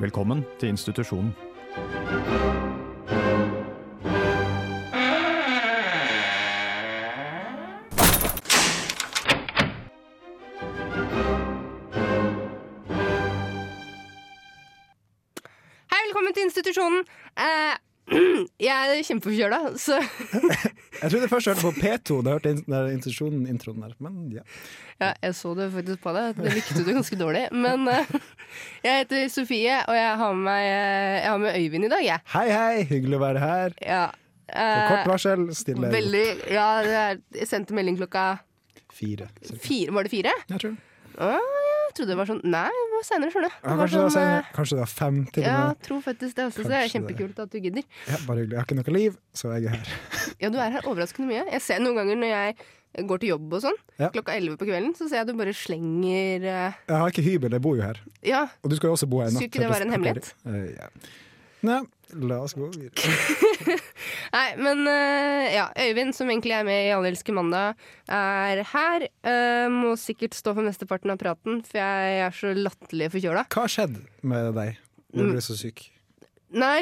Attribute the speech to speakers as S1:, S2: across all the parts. S1: Velkommen til institusjonen.
S2: Hei, velkommen til institusjonen. Eh, jeg er kjempeforkjøla, så
S3: Jeg trodde først jeg hørte på P2 da jeg hørte in- der institusjonen introen der. Men ja.
S2: ja, jeg så det faktisk på deg. Det likte du ganske dårlig. Men eh, jeg heter Sofie, og jeg har med, meg, eh, jeg har med Øyvind i dag, jeg.
S3: Hei, hei, hyggelig å være her.
S2: Ja.
S3: På
S2: eh,
S3: kort varsel, stille
S2: veldig Ja, det er, jeg sendte melding klokka
S3: fire. cirka.
S2: fire. Var det fire?
S3: Jeg tror. det.
S2: Å, jeg trodde det var sånn Nei, det var seinere, skjønner du.
S3: Ja,
S2: var
S3: kanskje, det var
S2: sånn,
S3: senere.
S2: eh,
S3: kanskje det var fem til og
S2: ja,
S3: med.
S2: tror faktisk det også, så det er
S3: Kanskje det.
S2: kjempekult at du gidder.
S3: Ja, bare hyggelig. Jeg har ikke noe liv, så jeg er her.
S2: Ja, du er her overraskende mye. Jeg ser noen ganger når jeg går til jobb og sånn,
S3: Ja.
S2: klokka elleve på kvelden, så ser jeg at du bare slenger eh,
S3: Jeg har ikke hybel, jeg bor jo her.
S2: Ja,
S3: Og du skal jo også bo her i natt.
S2: Skulle ikke det være en hemmelighet?
S3: Eh, ja. Nei, la oss gå videre.
S2: Nei, men eh, ja, Øyvind, som egentlig er med i Alle elsker mandag, er her. Eh, må sikkert stå for mesteparten av praten, for jeg er så latterlig forkjøla.
S3: Hva har skjedd med deg
S2: Mm.
S3: når du ble så syk?
S2: Nei.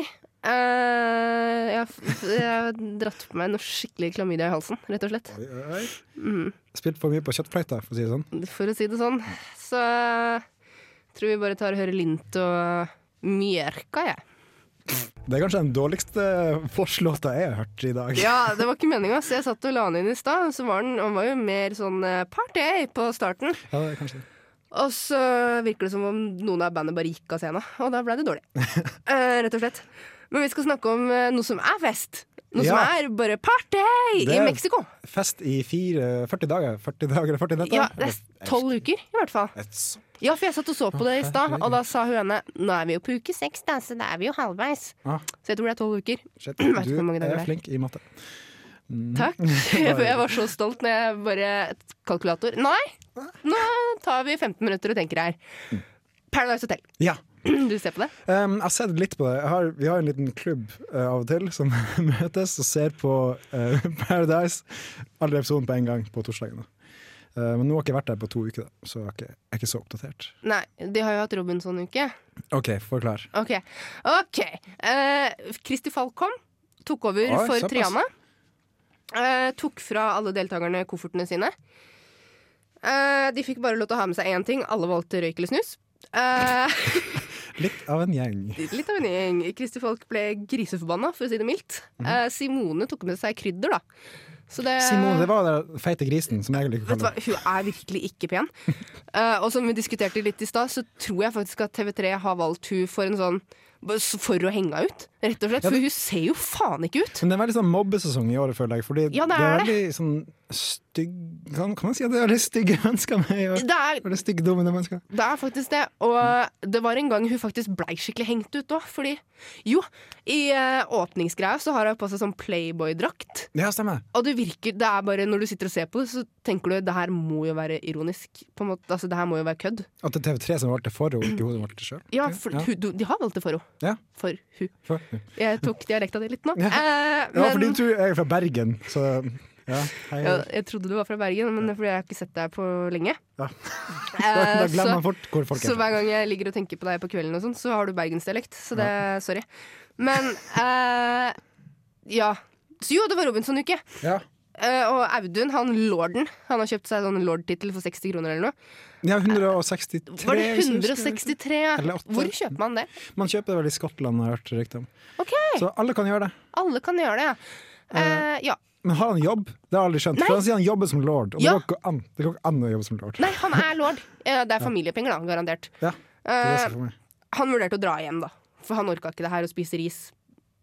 S2: eh, jeg, har f- jeg har dratt på meg noe skikkelig klamydia i halsen, rett og slett.
S3: Oi, oi, oi.
S2: Mm.
S3: Spilt for mye på kjøttfløyta, for å si det sånn.
S2: For å si det sånn. Så eh, tror vi bare tar og hører Lint og Mjørka, jeg.
S3: Det er kanskje den dårligste vorslåta jeg har hørt i dag.
S2: Ja, det var ikke meninga, så jeg satt og la den inn i stad, og så var den, han var jo mer sånn eh, party på starten.
S3: Ja, det er kanskje det.
S2: Og så virker det som om noen av bandet bare gikk av scenen, og da ble det dårlig. Eh, rett og slett. Men vi skal snakke om eh, noe som er fest. Noe som
S3: Ja.
S2: er bare party i
S3: Det-
S2: Mexico.
S3: Fest i fire, 40 dager. 40 dager eller 40 netter?
S2: Ja, det er tolv uker, i hvert fall.
S3: Et s-
S2: Ja, for jeg satt og så på det i stad, og da sa hun ene Nå er vi jo på uke seks, da, så da er vi jo halvveis.
S3: Ah,
S2: Så jeg tror det er tolv uker.
S3: shit.
S2: Vet ikke hvor
S3: Du
S2: mange dager det
S3: er
S2: er.
S3: flink i matte.
S2: Takk.
S3: Mm.
S2: For jeg var så stolt når jeg bare Kalkulator. Nei, nå tar vi 15 minutter og tenker her. Paradise Hotel.
S3: Ja.
S2: Du ser på det?
S3: Um, jeg har sett litt på det. Jeg har, vi har en liten klubb eh, av og til som møtes og ser på eh, Paradise. Alle episodene på en gang på torsdagene. Eh, men nå har jeg ikke vært der på to uker, da, så jeg er ikke, jeg er ikke så oppdatert.
S2: Nei, de har jo hatt Robinson-uke.
S3: OK, forklar.
S2: Ok. ok Eh, Kristi Falk kom, tok over
S3: Oi,
S2: for
S3: såpass.
S2: Triana. Eh, tok fra alle deltakerne koffertene sine. Eh, de fikk bare lov til å ha med seg én ting. Alle valgte røyk eller snus. Eh,
S3: Litt av en gjeng.
S2: litt av en gjeng. Kristi Falk ble griseforbanna, for å si det mildt.
S3: Mhm.
S2: Eh, Simone tok med seg krydder, da. Så det,
S3: Simone, det var den feite grisen som jeg liker å
S2: Eh. Vet du hva,
S3: kalle den.
S2: Hun er virkelig ikke pen. Eh, og som vi diskuterte litt i stad, så tror jeg faktisk at TV3 har valgt hun for en sånn For å henge henne ut, rett og slett. For hun ser jo faen ikke ut!
S3: Men det er en veldig sånn mobbesesong i året, føler jeg. Fordi
S2: Ja, det
S3: det er
S2: er
S3: veldig sånn stygg kan, kan man si at det er veldig stygge mennesker med i år?
S2: Det er,
S3: Veldig styggdommende mennesker.
S2: det er faktisk det. Og eh, det var en gang hun faktisk blei skikkelig hengt ut òg, fordi Jo, i eh, åpningsgreia så har hun på seg sånn Playboy-drakt.
S3: Ja, stemmer.
S2: Og det virker det er bare, Når du sitter og ser på det, så tenker du det her må jo være ironisk. På en måte, altså Det her må jo være kødd.
S3: At det er TV3 som valgte for henne, ikke hun som valgte sjøl.
S2: Ja, for,
S3: Ja.
S2: Hun, du, De har valgt det for henne.
S3: Ja.
S2: For hun.
S3: For, ja.
S2: Jeg tok dialekta di litt nå.
S3: Ja.
S2: Eh,
S3: Ja,
S2: men,
S3: fordi du er fra Bergen, så ja, hei.
S2: ja, jeg trodde du var fra Bergen, men det er fordi jeg har ikke sett deg på lenge.
S3: Ja. Da,
S2: Eh,
S3: da glemmer
S2: så,
S3: man fort hvor folk
S2: så
S3: er fra.
S2: hver gang jeg ligger og tenker på deg på kvelden, og sånn, så har du bergensdialekt. Så det Sorry. Men eh, ja. Så jo, det var Robinson-uke.
S3: Ja.
S2: Eh, og Audun, han lorden, han har kjøpt seg sånn lord-tittel for 60 kroner eller noe.
S3: ja, 163
S2: Var det
S3: hvis jeg husker riktig.
S2: 163? Ja.
S3: Eller åtte.
S2: Hvor kjøper man det?
S3: Man kjøper det vel i Skottland, har jeg hørt rykte om.
S2: Ok,
S3: Så alle kan gjøre det.
S2: alle kan gjøre det, ja. Eh, ja.
S3: Men har han jobb? Det har jeg aldri skjønt.
S2: Nei.
S3: For han sier han jobber som lord, og
S2: Ja.
S3: det går ikke an. Det går ikke an å jobbe som lord.
S2: Nei, han er lord. Eh, det er familiepenger, da, garantert. Eh,
S3: Ja, det er det som er for meg.
S2: han vurderte å dra hjem, da. For han orka ikke det her å spise ris.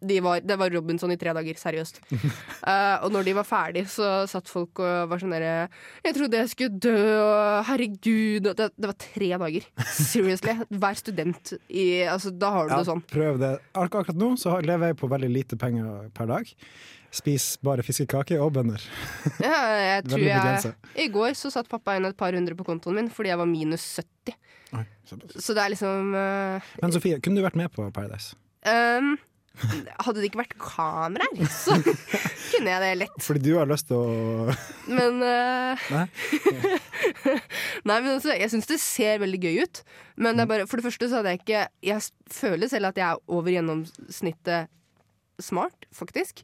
S2: De var, det var Robinson i tre dager, seriøst. Eh, og når de var ferdig, så satt folk og var sånn derre Jeg trodde jeg skulle dø, og herregud og det, det var tre dager. Seriously. Vær student i Altså, da har du
S3: Ja,
S2: det sånn.
S3: prøv det. Ak akkurat nå så har- lever jeg på veldig lite penger per dag. Spis bare fiskekake og bønner.
S2: Ja, jeg tror
S3: Veldig
S2: jeg
S3: begrenset.
S2: I går så satt pappa inn et par hundre på kontoen min fordi jeg var minus 70. Så det er liksom eh,
S3: Men Sofie, kunne du vært med på Paradise?
S2: ehm, Hadde det ikke vært kameraer, så kunne jeg det lett.
S3: Fordi du har lyst til å
S2: Men eh,
S3: Nei?
S2: Nei, men altså, jeg syns det ser veldig gøy ut. Men det
S3: Mm.
S2: er bare, for det første så hadde jeg ikke Jeg s- føler selv at jeg er over gjennomsnittet smart, faktisk.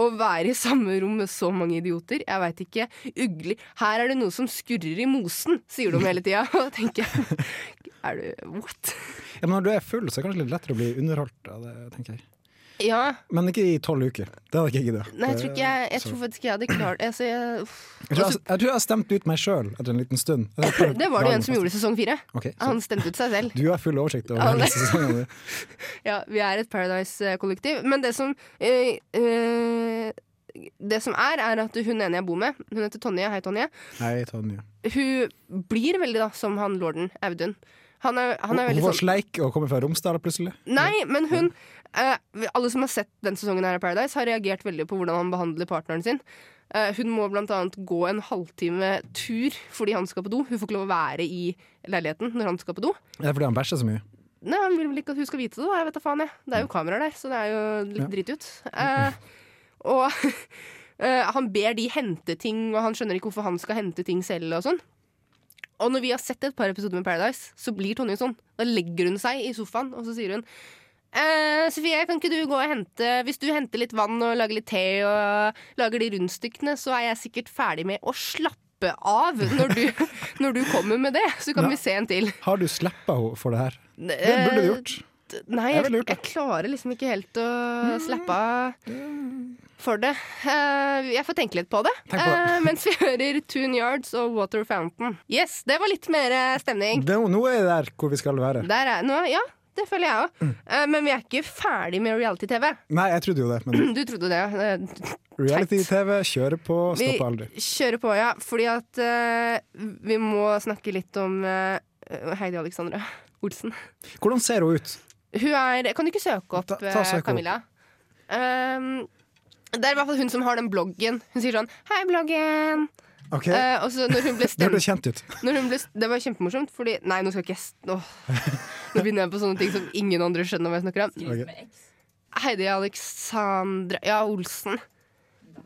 S2: Å være i samme rom med så mange idioter. Jeg veit ikke. Ugler Her er det noe som skurrer i mosen, sier de hele tida. Og da tenker jeg Er du What?
S3: Ja, men når du er full, så er det kanskje litt lettere å bli underholdt av det, tenker jeg.
S2: Ja.
S3: Men ikke i tolv uker. Det hadde ikke jeg giddet.
S2: Nei, jeg tror, ikke jeg, jeg
S3: Så-
S2: tror faktisk ikke jeg hadde klart altså, jeg, uff.
S3: Jeg tror jeg, jeg tror jeg har stemt ut meg sjøl etter en liten stund. Jeg tror jeg prøver-
S2: Det var det jo en som gjorde i sesong fire.
S3: Ok, så
S2: Han stemte ut seg selv.
S3: Du har full oversikt over
S2: Ja,
S3: hele
S2: det-
S3: sesongen. du.
S2: Ja, vi er et Paradise-kollektiv. Men det som eh, eh, Det som er, er at hun ene jeg bor med, hun heter Tonje, hei Tonje,
S3: Nei, ta den nye.
S2: hun blir veldig da som han lorden Audun. Han er, han er veldig
S3: Hun var
S2: sånn
S3: sleik og kommer fra Romsdal plutselig.
S2: Nei, men hun eh, Alle som har sett den sesongen her av Paradise, har reagert veldig på hvordan han behandler partneren sin. Eh, hun må blant annet gå en halvtime tur fordi han skal på do. Hun får ikke lov å være i leiligheten når han skal på do.
S3: Er det fordi han bæsjer så mye?
S2: Nei, Han vil vel ikke at hun skal vite det, da. Jeg vet da faen, jeg. Det er jo kameraer der, så det er jo litt
S3: Ja.
S2: drit ut. Eh, og eh, han ber de hente ting, og han skjønner ikke hvorfor han skal hente ting selv og sånn. Og når vi har sett et par episoder med Paradise, så blir Tonje sånn. Da legger hun seg i sofaen, og så sier hun eh, Sofie, kan ikke du gå og hente Hvis du henter litt vann og lager litt te og lager de rundstykkene, så er jeg sikkert ferdig med å slappe av når du, når du kommer med det. Så kan
S3: Ja.
S2: vi se en til.
S3: Har du slappa henne for det her? Det
S2: Eh,
S3: burde du gjort.
S2: Nei,
S3: Det er
S2: jeg,
S3: veldig lurt, da. Mm.
S2: jeg klarer liksom ikke helt å slappe av for det. Eh, jeg får tenke litt på det,
S3: Tenk på det.
S2: Eh, mens vi hører Tune Yards og Water Fountain. Yes, det var litt mer eh, stemning.
S3: Nå, nå er det der hvor vi skal være.
S2: Der er, nå, ja, det føler jeg òg.
S3: Mm.
S2: men vi er ikke ferdig med reality-TV.
S3: Nei, jeg trodde jo det, men
S2: Du trodde det? eh,
S3: reality-TV kjører på, stopper aldri.
S2: Vi kjører på, ja. Fordi at eh, vi må snakke litt om eh, Heidi Alexandra Olsen.
S3: Hvordan ser hun ut?
S2: Hun er Kan du ikke søke opp
S3: Ta- ta
S2: eh,
S3: søk opp.
S2: Camilla? Ehm, det er i hvert fall hun som har den bloggen. Hun sier sånn 'Hei, bloggen'.
S3: Ok,
S2: Eh, og så når hun ble
S3: Det hørtes
S2: stemt
S3: kjent ut.
S2: når hun ble, Det var kjempemorsomt, fordi Nei, nå skal ikke jeg s- åh. Nå begynner jeg på sånne ting som ingen andre skjønner hva jeg snakker om.
S3: Ok.
S2: Heidi Alexandra Ja, Olsen.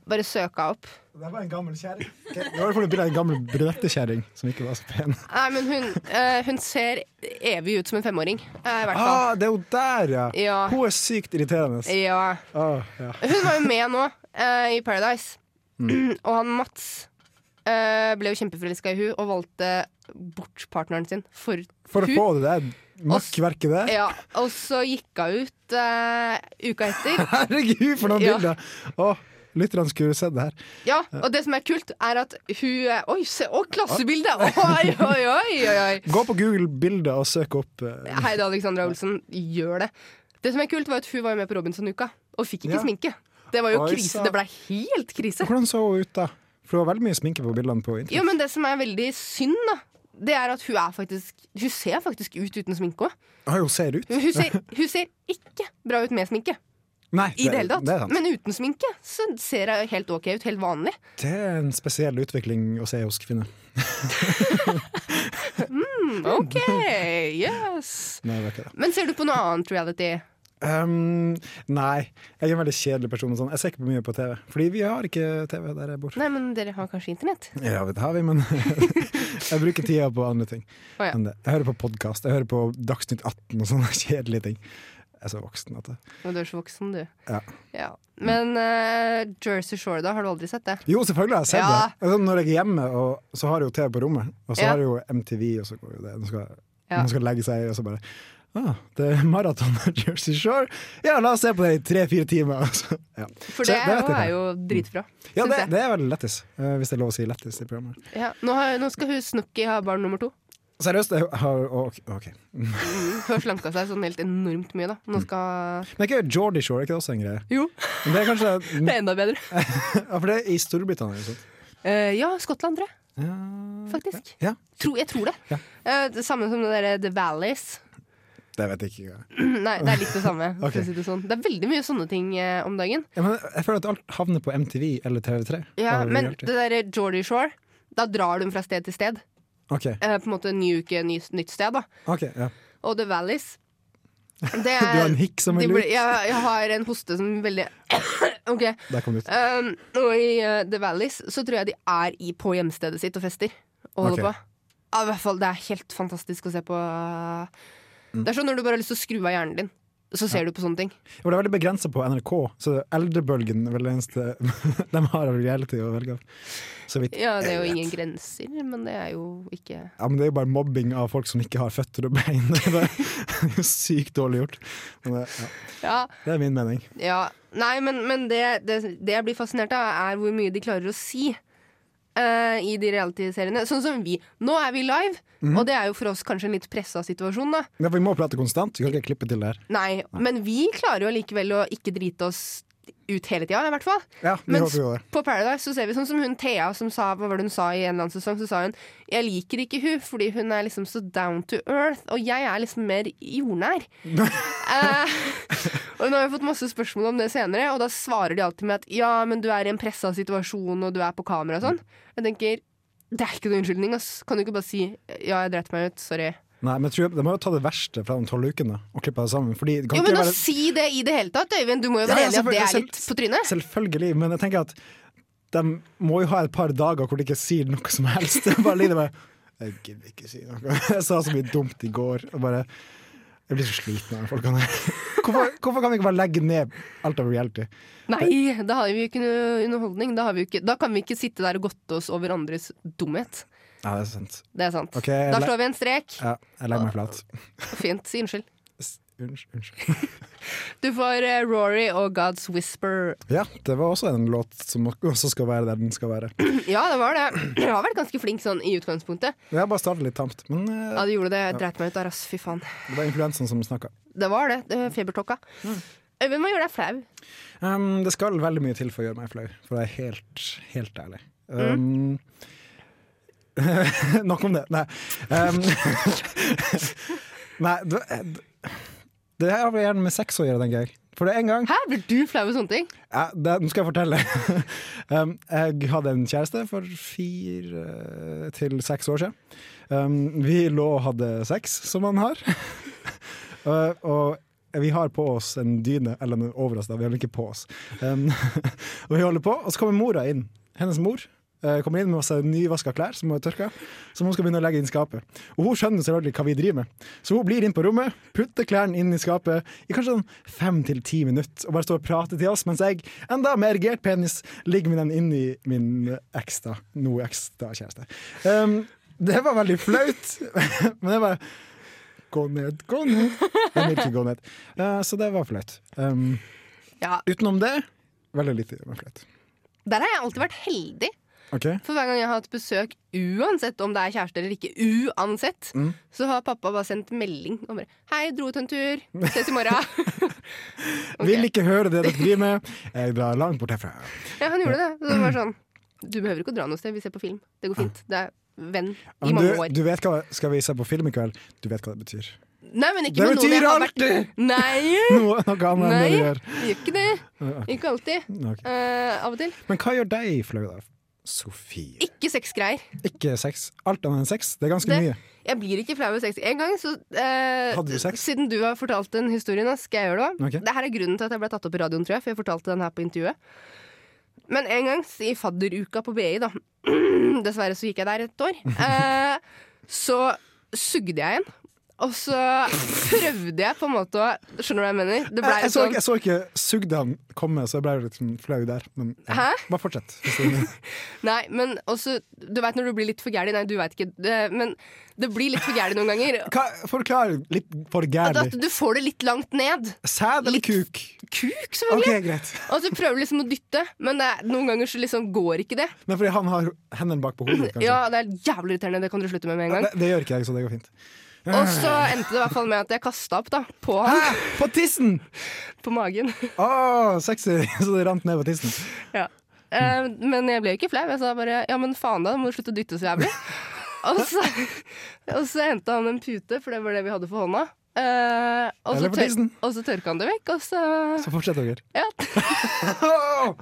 S2: Bare søka opp.
S3: Det var en gammel kjerring. Det var for å bilde av en gammel brunettekjerring som ikke var så pen.
S2: Nei, men hun, eh, hun ser evig ut som en femåring. eh, I hvert fall.
S3: Ah, det er hun der, ja!
S2: Ja.
S3: Hun er sykt irriterende.
S2: Ja.
S3: Ah, ja.
S2: Hun var jo med nå eh, i Paradise.
S3: Mm.
S2: og han Mats eh, ble jo kjempeforelska i hun og valgte bort partneren sin for,
S3: For å
S2: hun.
S3: få det der makkverket der.
S2: Ja, og så gikk hun ut eh, uka etter.
S3: Herregud, for noen
S2: Ja.
S3: bilder! Åh, Lytterne skulle sett det her.
S2: Ja, Og det som er kult, er at hun eh, Oi, se! Å, klassebildet!
S3: Ah.
S2: Oi, oi, oi! oi, oi.
S3: Gå på Google bilder og søk opp eh,
S2: Heidi Alexandra Olsen gjør det. Det som er kult, var at hun var jo med på Robinson-uka og fikk ikke
S3: Ja.
S2: sminke. Det var jo
S3: Oi,
S2: krise.
S3: sa-
S2: Det ble helt krise.
S3: Hvordan så hun ut da? For det var veldig mye sminke på bildene på internett.
S2: Jo, men det som er veldig synd, da, det er at hun er faktisk Hun ser faktisk ut uten sminke òg.
S3: Ah, hun ser ut.
S2: Hun, ser- hun ser ikke bra ut med sminke
S3: Nei,
S2: i det, hele tatt.
S3: Det er, sant.
S2: men uten sminke så ser hun helt OK ut. Helt vanlig.
S3: det er en spesiell utvikling å se hos kvinner.
S2: Mm,
S3: Mm.
S2: OK, yes.
S3: Nei, det var ikke det.
S2: Men ser du på noe annet reality?
S3: Um, nei, jeg er en veldig kjedelig person. og Sånn. Jeg ser ikke på mye på TV, Fordi vi har ikke TV der jeg bor.
S2: Nei, men dere har kanskje internett?
S3: Ja, det har vi, men jeg bruker tida på andre ting.
S2: Å, ja.
S3: enn det. Jeg hører på podkast, jeg hører på Dagsnytt 18 og sånne kjedelige ting. Jeg er så voksen at det
S2: Men Du er så voksen, du.
S3: Ja.
S2: Ja. Men eh, Jersey Shore, da? Har du aldri sett det?
S3: Jo, selvfølgelig har jeg sett
S2: Ja.
S3: det. Altså, når jeg er hjemme, og så har jeg jo TV på rommet, og så
S2: Ja.
S3: har jeg jo MTV, og så går jo det. Man skal,
S2: Ja.
S3: man skal legge seg, og så bare ah, Det er maraton av Jersey Shore! Ja, la oss se på det i tre-fire timer! og så- ja,
S2: For
S3: Så
S2: det,
S3: det vet jeg
S2: er jo dritbra.
S3: ja
S2: Synes
S3: det,
S2: jeg.
S3: det er veldig lættis, eh, hvis det er lov å si lættis i programmet.
S2: Ja. Nå, har, nå skal hun Snooki ha barn nummer to.
S3: Seriøst, jeg har å, OK. ok.
S2: Hun har slanka seg sånn helt enormt mye, da. Nå skal
S3: Men er ikke Geordie Shore er ikke det også en greie?
S2: Jo,
S3: Men det er kanskje
S2: det er enda bedre.
S3: Ja, for det er i Storbritannia, ikke sant?
S2: Eh, ja, Skottland, tror jeg.
S3: Ja,
S2: Faktisk.
S3: Ja,
S2: Tro, jeg tror det.
S3: Ja.
S2: Eh, det samme som det derre The Valleys.
S3: det vet jeg ikke. hva er.
S2: Nei, det er litt det samme. for å
S3: Ok.
S2: si det, sånn. det er veldig mye sånne ting eh, om dagen.
S3: Ja, men jeg føler at alt havner på MTV eller TV3.
S2: Ja,
S3: Har vi
S2: men
S3: gjort
S2: det derre Geordie Shore, da drar de fra sted til sted.
S3: Ok,
S2: Eh, på en måte ny uke, ny, nytt sted, da.
S3: ok, ja.
S2: Og The Valleys Det
S3: Du har en hikk som
S2: Eh, de
S3: en
S2: ble,
S3: lut.
S2: jeg, jeg har en hoste som veldig OK.
S3: Der kom det ut.
S2: Um, og i eh, The Valleys så tror jeg de er i, på hjemstedet sitt og fester. Og holder
S3: Ok.
S2: på. Ja, i hvert fall, Det er helt fantastisk å se på. Det er sånn når du bare har lyst til å skru av hjernen din, så ser du på sånne ting.
S3: Og det er veldig begrensa på NRK, så eldrebølgen er vel det eneste de har av reality å velge av. Så vidt.
S2: Ja, Det er jo ingen grenser, men det er jo ikke
S3: Ja, men det er jo bare mobbing av folk som ikke har føtter og bein. Det er jo sykt dårlig gjort. Men det, ja,
S2: Ja,
S3: det er min mening.
S2: ja. Nei, men, men det, det, det jeg blir fascinert av, er hvor mye de klarer å si eh, i de realityseriene. Sånn som vi. Nå er vi live, og det er jo for oss kanskje en litt pressa situasjon, da.
S3: Ja, for vi må prate konstant, vi kan ikke klippe til det her.
S2: Nei, men vi klarer jo allikevel å ikke drite oss ut hele tida, i hvert fall.
S3: Ja, vi
S2: Mens
S3: håper jo det.
S2: på Paradise så ser vi sånn som hun Thea som sa Hva var det hun sa i en eller annen sesong? Så sa hun Jeg liker ikke hun fordi hun er liksom så down to earth, og jeg er liksom mer jordnær. eh, og nå har vi fått masse spørsmål om det senere, og da svarer de alltid med at ja, men du er i en pressa situasjon, og du er på kamera og sånn. Jeg tenker det er ikke noen unnskyldning, ass. Kan du ikke bare si ja, jeg dreit meg ut, sorry.
S3: Nei, men jeg tror, De må jo ta det verste fra de tolv ukene og klippe det sammen. Fordi det kan
S2: Jo,
S3: ikke
S2: men å
S3: være-
S2: si det i det hele tatt, Øyvind, du må jo
S3: Ja,
S2: være
S3: ja,
S2: enig i at det er
S3: selvfølgelig,
S2: litt på trynet?
S3: Selvfølgelig, men jeg tenker at de må jo ha et par dager hvor de ikke sier noe som helst. Det er bare lider med Jeg gidder ikke si noe. Jeg sa så mye dumt i går. Og bare Jeg blir så sliten av de folkene her. Hvorfor, hvorfor kan vi ikke bare legge ned alt av reality?
S2: Nei, da har vi jo ikke noe underholdning. Da, har vi jo ikke, da kan vi ikke sitte der og godte oss over andres dumhet.
S3: Ja, det er sant.
S2: Det er sant.
S3: Ok, jeg
S2: da
S3: le-
S2: slår vi en strek.
S3: Ja, jeg legger meg flat.
S2: Fint, si unnskyld.
S3: S- Unnskyld. unnskyld.
S2: Du får eh, Rory og God's Whisper.
S3: Ja, det var også en låt som også skal være der den skal være.
S2: Ja, det var det. Jeg har vært ganske flink sånn i utgangspunktet.
S3: Jeg har bare startet litt tamt, men eh,
S2: Ja, du gjorde det. Jeg dreit meg ut der, ass. Fy faen.
S3: det var influensaen som snakka.
S2: Det var det. det var Febertokka.
S3: Mm.
S2: Øyvind, hva gjør deg flau?
S3: Um, det skal veldig mye til for å gjøre meg flau, for å være helt, helt ærlig. Um, nok om det. Nei. Um, nei det, eh, det har vel gjerne med sex å gjøre, tenker jeg. For det er en gang
S2: Hæ, blir du flau over sånne ting?
S3: ja, det, Nå skal jeg fortelle. um, jeg hadde en kjæreste for fire eh, til seks år siden. Um, vi lå og hadde sex, som man har. Uh, og vi har på oss en dyne, eller en over oss, da. Vi har den ikke på oss. Um, og vi holder på, og så kommer mora inn. Hennes mor. eh, Kommer inn med masse nyvaska klær som hun har tørka, som hun skal begynne å legge inn i skapet. Og hun skjønner selvfølgelig hva vi driver med, så hun blir inn på rommet, putter klærne inn i skapet i kanskje sånn fem til ti minutter og bare står og prater til oss, mens jeg, enda med erigert penis, ligger med den inni min eks, da. Nå eks, da, kjæreste. Um, det var veldig flaut, men jeg bare Gå ned, gå ned. Jeg vil ikke gå ned. Eh, så det var flaut. Um,
S2: Ja,
S3: utenom det, veldig lite men flaut.
S2: Der har jeg alltid vært heldig.
S3: Ok?
S2: For hver gang jeg har hatt besøk, uansett om det er kjæreste eller ikke, uansett,
S3: Mm.
S2: så har pappa bare sendt melding og bare 'Hei, dro ut en tur.
S3: Mm.
S2: Ses i morgen.' Ok.
S3: Vil ikke høre det dere driver med. Jeg drar langt bort herfra.
S2: ja, han gjorde det. Så det var sånn 'Du behøver ikke å dra noe sted, vi ser på film. Det går fint.' Det er venn i
S3: Men
S2: mange
S3: du,
S2: år.
S3: du vet hva, skal vi se på film i kveld? Du vet hva det betyr.
S2: Nei, men ikke
S3: Det
S2: med noen jeg
S3: betyr
S2: har vært
S3: alltid
S2: Nei,
S3: noe, noe annet enn det
S2: Nei.
S3: du gjør.
S2: gjør ikke det.
S3: Ja,
S2: Ikke alltid.
S3: ok.
S2: Eh, av og til.
S3: Men hva gjør deg flau, da? Sofie.
S2: Ikke sexgreier.
S3: Ikke sex. Alt annet enn sex. Det er ganske
S2: Det-
S3: mye.
S2: Jeg blir ikke flau over sex. En gang, så eh,
S3: Hadde du sex?
S2: Siden du har fortalt den historien, da, skal jeg gjøre det òg.
S3: Ok.
S2: Dette er grunnen til at jeg ble tatt opp i radioen, tror jeg, for jeg fortalte den her på intervjuet. Men en gang i fadderuka på BI, da Dessverre så gikk jeg der et år. Eh, så sugde jeg en. Og så prøvde jeg på en måte å Skjønner du hva jeg mener? Det ble
S3: Eh, Jeg, jeg, så,
S2: sånn-
S3: ikke- jeg så ikke Sugdan komme, så jeg ble litt sånn flau der. Men ja.
S2: Hæ?
S3: bare fortsett. Kristine.
S2: Nei, men også Du veit når du blir litt for gæli. Nei, du veit ikke. Det, men det blir litt for gæli noen ganger.
S3: Hva- Forklar litt for
S2: At
S3: gærlig.
S2: du får det litt langt ned.
S3: Sæd eller
S2: litt-
S3: kuk?
S2: Kuk, selvfølgelig.
S3: OK, greit.
S2: Og så prøver du liksom å dytte, men det er, noen ganger så liksom går ikke det.
S3: Men fordi han har hendene bak på hodet, kanskje.
S2: Ja, Det er jævlig irriterende, det kan dere slutte med med en gang.
S3: Det, det gjør ikke jeg, så det går fint.
S2: Og så endte det i hvert fall med at jeg kasta opp da, Ah, på
S3: Hæ?
S2: han,
S3: På tissen!
S2: på magen.
S3: Å, sexy! Så det rant ned på tissen.
S2: Ja. Eh, men jeg ble jo ikke flau. Jeg sa bare ja, men faen da, må du slutte å dytte så jævlig. og, så, og så endte han en pute, for det var det vi hadde for hånda. Eh, og, så
S3: Eller for
S2: tør,
S3: tissen.
S2: og så tørka han det vekk, og så
S3: Så fortsett dere.
S2: ja.
S3: Åh!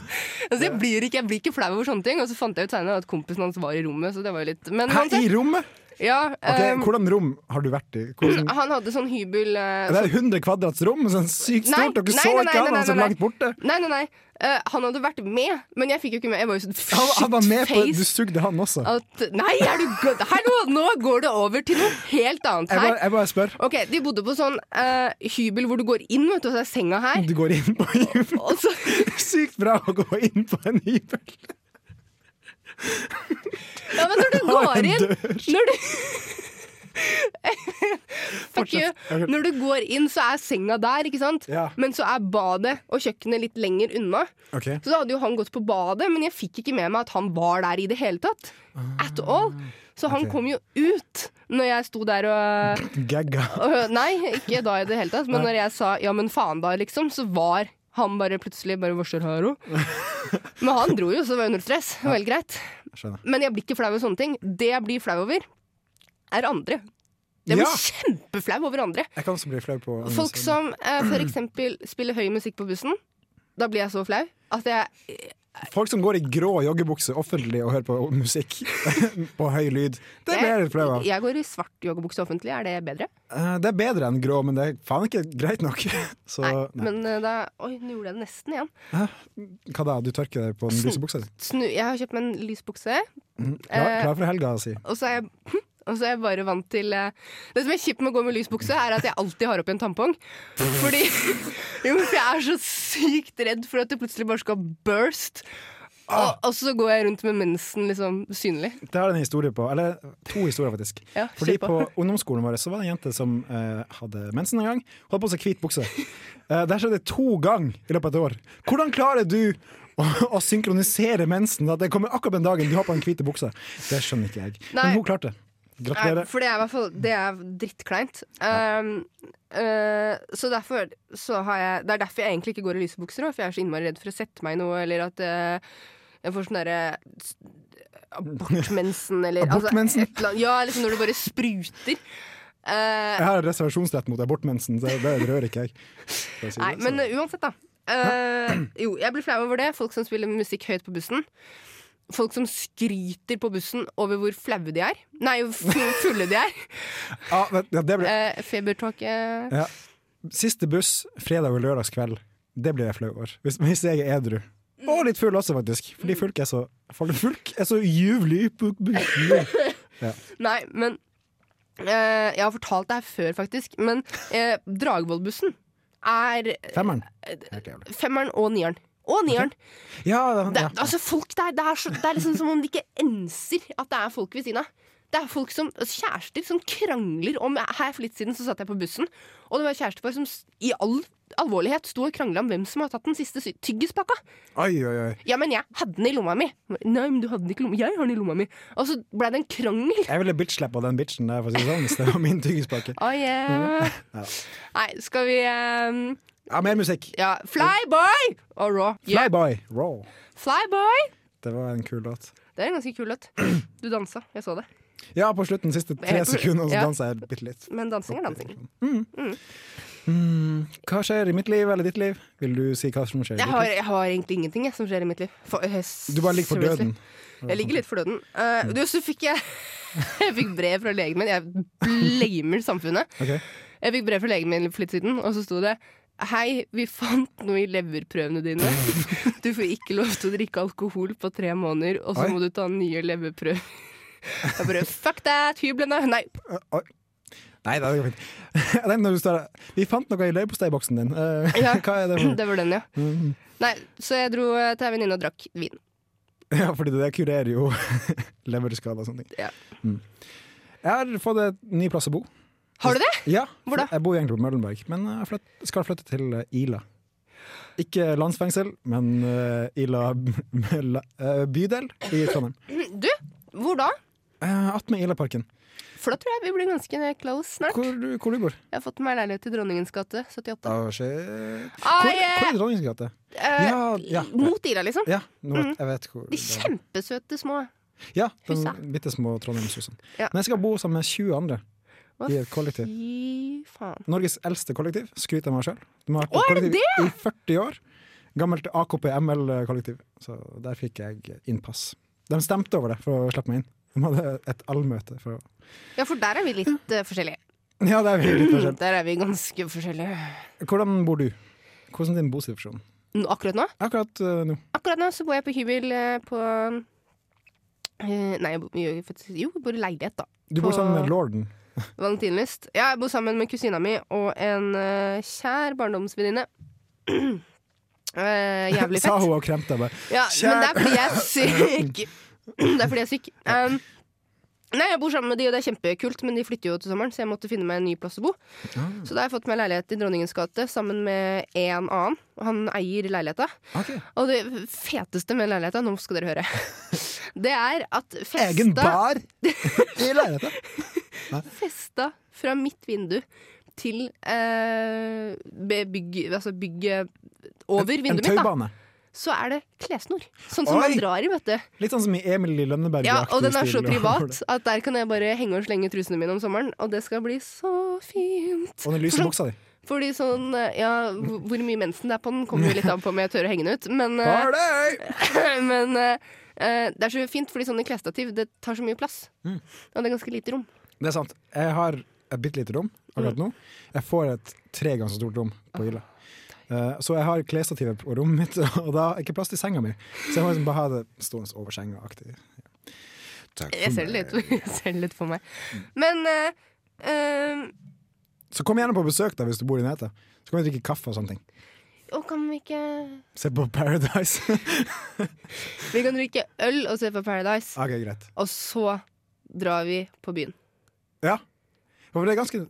S2: altså, jeg, blir ikke, jeg blir ikke flau over sånne ting. Og så fant jeg ut senere at kompisen hans var i rommet, så det var jo litt Men
S3: Her
S2: uansett.
S3: i rommet?
S2: Ja,
S3: Ok,
S2: ehm,
S3: Hvordan rom har du vært i? Hvordan,
S2: han hadde sånn hybel eh,
S3: det er 100 kvadrats rom, sånn sykt
S2: Nei,
S3: stort, dere
S2: nei, nei,
S3: så ikke
S2: nei,
S3: han,
S2: nei,
S3: han så
S2: nei, nei.
S3: langt borte.
S2: Nei, nei, nei. Eh, han hadde vært med, men jeg fikk jo ikke med. Jeg var jo så
S3: Han, han var med på
S2: shitface
S3: Du sugde han også.
S2: At, nei, er du gødd? Hallo, nå går det over til noe helt annet
S3: Jeg bare,
S2: her.
S3: jeg bare spør.
S2: Ok, De bodde på sånn eh, hybel hvor du går inn, vet du, og så er senga her.
S3: Du går inn på hybel.
S2: Og så,
S3: Sykt bra å gå inn på en hybel.
S2: ja, men når du
S3: Har
S2: går
S3: en
S2: inn
S3: dør.
S2: Når du Fuck you.
S3: Ok.
S2: Når du går inn, så er senga der, ikke sant?
S3: Ja.
S2: Men så er badet og kjøkkenet litt lenger unna.
S3: Ok,
S2: Så da hadde jo han gått på badet, men jeg fikk ikke med meg at han var der i det hele tatt. At all. Så han
S3: ok.
S2: kom jo ut når jeg sto der og
S3: Gagga.
S2: Øh, Nei, ikke da i det hele tatt. Men når jeg sa 'ja, men faen da', liksom, så var han bare plutselig bare 'hva skjer her, jo?" Men han dro jo, så det var jo null stress. Det var helt greit.
S3: Skjønner.
S2: Men jeg blir ikke flau over sånne ting. Det jeg blir flau over, er andre. Jeg blir
S3: Ja.
S2: kjempeflau over andre.
S3: Jeg kan også bli flau på
S2: Folk som eh, for eksempel spiller høy musikk på bussen. Da blir jeg så flau at jeg
S3: Folk som går i grå joggebukse offentlig og hører på musikk på høy lyd. Det blir jeg litt flau av.
S2: jeg går i svart joggebukse offentlig. Er det bedre?
S3: Eh, Det er bedre enn grå, men det er faen ikke greit nok. Så
S2: Nei.
S3: nei.
S2: Men eh, da Oi, nå gjorde jeg det nesten igjen.
S3: hva da? Du tørker deg på den lyse buksa di?
S2: Snu, jeg har kjøpt meg en lys bukse.
S3: Mm. Klar,
S2: Eh,
S3: klar for helga, si.
S2: Og så er jeg og så er jeg bare vant til eh, Det som er kjipt med å gå med lys bukse, er at jeg alltid har oppi en tampong. Fordi jo, for jeg er så sykt redd for at det plutselig bare skal burst.
S3: Ah.
S2: Og, og så går jeg rundt med mensen liksom synlig.
S3: Det har jeg en historie på, eller to historier faktisk.
S2: Ja,
S3: Fordi
S2: kjør på.
S3: på ungdomsskolen vår så var det en jente som eh, hadde mensen en gang. Hun hadde på seg hvit bukse. Eh, det her skjedde to ganger i løpet av et år. Hvordan klarer du å, å synkronisere mensen? At det kommer akkurat den dagen du har på den hvite buksa? Det skjønner ikke jeg.
S2: Nei.
S3: Men hun klarte det.
S2: Nei,
S3: Gratulerer.
S2: for det er i hvert fall Det er drittkleint. Um, eh, så derfor så har jeg Det er derfor jeg egentlig ikke går i lyse bukser òg, for jeg er så innmari redd for å sette meg i noe, eller at eh, jeg får sånn derre s- Abortmensen, eller altså,
S3: Abortmensen?
S2: et eller annet- ja, liksom når det bare spruter. Eh,
S3: Jeg har reservasjonsrett mot abortmensen, så det rører ikke jeg. For å si det, sånn.
S2: nei,
S3: så-
S2: men eh, uansett, da. Eh, jo, jeg blir flau over det. Folk som spiller musikk høyt på bussen. Folk som skryter på bussen over hvor flaue de er. Nei, hvor fu- fulle de er.
S3: Ah, men- ja, det ble,
S2: Uh, Febertåke.
S3: ja. Siste buss fredag og lørdagskveld. Det blir jeg flau over. Hvis, hvis jeg er edru. Og litt full også, faktisk.
S2: Mm.
S3: Fordi fulk er så for Fulk er så juvlig. Bu- bu- ju.
S2: Nei, men eh, Jeg har fortalt det her før, faktisk, men eh, Dragvollbussen er
S3: Femmeren. Helt jævlig.
S2: femmeren og nieren. Og nieren.
S3: Ja,
S2: Det,
S3: ja.
S2: altså folk der, det, er så, det er liksom som om de ikke enser at det er folk ved siden av. Det er folk som, altså Kjærester som krangler om Her for litt siden så satt jeg på bussen, og det var et kjærestepar som s- i all alvorlighet sto og krangla om hvem som har tatt den siste sy- tyggispakka.
S3: Oi, oi, oi.
S2: Ja, men jeg hadde den i lomma mi. Nei, men du hadde den ikke i lomma. Jeg har den i lomma mi. Og så ble det en krangel.
S3: Jeg ville bitch-slappa den bitchen der, for å si det sånn, hvis det var min tyggispakke.
S2: Å, Oh, yeah.
S3: Ja.
S2: Nei, skal vi ehm,
S3: Ja, mer musikk.
S2: Ja, Flyboy og Raw. Yeah.
S3: Flyboy, raw.
S2: Flyboy!
S3: Det var en kul låt.
S2: Det er en ganske kul låt. Du dansa, jeg så det.
S3: Ja, på slutten, siste tre
S2: Helt på-
S3: sekunder, så
S2: ja.
S3: dansa jeg bitte litt.
S2: Men dansing er dansing.
S3: Mm, hva skjer i mitt liv eller ditt liv? Vil du si hva som skjer i
S2: Jeg
S3: ditt
S2: har,
S3: liv?
S2: jeg har egentlig ingenting jeg, som skjer i mitt liv. For- eh, s-
S3: Du bare ligger for
S2: seriously.
S3: døden. Mm.
S2: Jeg ligger litt for døden. Eh, du, så fikk jeg Jeg fikk brev fra legen min. Jeg blamer samfunnet.
S3: Ok.
S2: Jeg fikk brev fra legen min for litt siden, og så sto det Hei, vi fant noe i leverprøvene dine. Du får ikke lov til å drikke alkohol på tre måneder, og så
S3: Oi.
S2: må du ta nye leverprøver. Jeg bare fuck that, hyblene! Nei,
S3: Oi. Nei, det går fint. Jeg tenkte når du står der Vi fant noe i leverposteiboksen din. Eh,
S2: Ja.
S3: Hva er det for?
S2: det var den, ja.
S3: Mm.
S2: Nei, så jeg dro eh, til ei venninne og drakk vin.
S3: Ja, fordi det der kurerer jo leverskader og sånne ting.
S2: Ja.
S3: Mm. Jeg har fått en ny plass å bo.
S2: Har du det?
S3: Ja,
S2: Hvor da?
S3: Jeg bor egentlig på Møllenberg, men jeg flytt, skal flytte til eh, Ila. Ikke landsfengsel, men eh, Ila b- la- eh, bydel i Trondheim.
S2: Du, hvor da?
S3: Uh, Attmed Ilaparken.
S2: For da tror jeg vi blir ganske close snart.
S3: Hvor, du- hvor du bor
S2: Jeg har fått meg leilighet i Dronningens gate 78.
S3: Oh, shit.
S2: Ah,
S3: Hvor,
S2: yeah!
S3: hvor i Dronningens gate?
S2: Eh,
S3: Ja, ja.
S2: Mot Ila, liksom.
S3: Ja, nå vet, jeg vet hvor
S2: De
S3: det er.
S2: kjempesøte små.
S3: Ja,
S2: Husa.
S3: de bitte små trondheimshusene.
S2: Ja.
S3: Men jeg skal bo sammen med 20 andre
S2: Hva
S3: i et kollektiv.
S2: Fy faen.
S3: Norges eldste kollektiv. Skryter av meg sjøl. De har
S2: Å,
S3: vært et
S2: er det
S3: kollektiv i 40 år. Gammelt AKP ML-kollektiv. Så der fikk jeg innpass. De stemte over det for å slippe meg inn. De hadde et allmøte. For å...
S2: Ja, for der er vi litt eh, forskjellige.
S3: Ja, det er vi litt forskjell.
S2: Der er vi ganske forskjellige.
S3: Hvordan bor du? Hvordan er din bosituasjon?
S2: Nå- Akkurat nå
S3: Akkurat eh, nå.
S2: Akkurat nå så bor jeg på hybel eh, på eh, Nei, jeg bor, jo, faktisk- jo, jeg bor i leilighet, da.
S3: Du bor
S2: På-
S3: sammen med lorden.
S2: Valentinlyst. Ja, jeg bor sammen med kusina mi og en eh, kjær barndomsvenninne. Eh, jævlig
S3: Sa
S2: fett.
S3: hun og kremta bare.
S2: Ja,
S3: Kjær-
S2: men det er fordi jeg er syk. Det er fordi jeg er syk. Um, nei, jeg bor sammen med de, og det er kjempekult, men de flytter jo til sommeren, så jeg måtte finne meg en ny plass å bo.
S3: Ah.
S2: Så da har jeg fått meg leilighet i Dronningens gate sammen med en annen. og Han eier leiligheta.
S3: Ok.
S2: Og det feteste med leiligheta, nå skal dere høre, det er at
S3: Egen
S2: festa,
S3: bar i leiligheta.
S2: festa fra mitt vindu til eh, be- bygg, altså bygget over
S3: En
S2: vinduet mitt, da,
S3: taubane.
S2: så er det klessnor. Sånn som
S3: Oi!
S2: man drar i, vet du.
S3: Litt sånn som i Emil i Lønneberg.
S2: Ja, og den er så privat at der kan jeg bare henge og slenge trusene mine om sommeren, og det skal bli så fint.
S3: Og den lyse buksa di.
S2: Fordi sånn, eh, ja, hvor hvor mye mensen det er på den, kommer jo litt av på om jeg tør å henge den ut, men eh,
S3: Party!
S2: Men eh, eh, det er så fint, fordi sånne klesstativ det tar så mye plass.
S3: Mm.
S2: Og det er ganske lite rom.
S3: Det er sant. Jeg har et bitte lite rom akkurat nå. Jeg får et tre ganger så stort rom på Hylla. Eh, så jeg har klesstativet på rommet mitt, og da er det ikke plass til senga mi. Så jeg må liksom bare ha det stående over senga. aktig
S2: Jeg ser det litt,
S3: Mm.
S2: jeg ser det litt for meg. Men eh, eh,
S3: Så kom gjerne på besøk da hvis du bor i Neta. Så kan vi drikke kaffe og sånne ting.
S2: Og kan vi ikke
S3: Se på Paradise.
S2: Vi kan drikke øl og se på Paradise,
S3: ok, greit.
S2: og så drar vi på byen.
S3: Ja. For det er ganske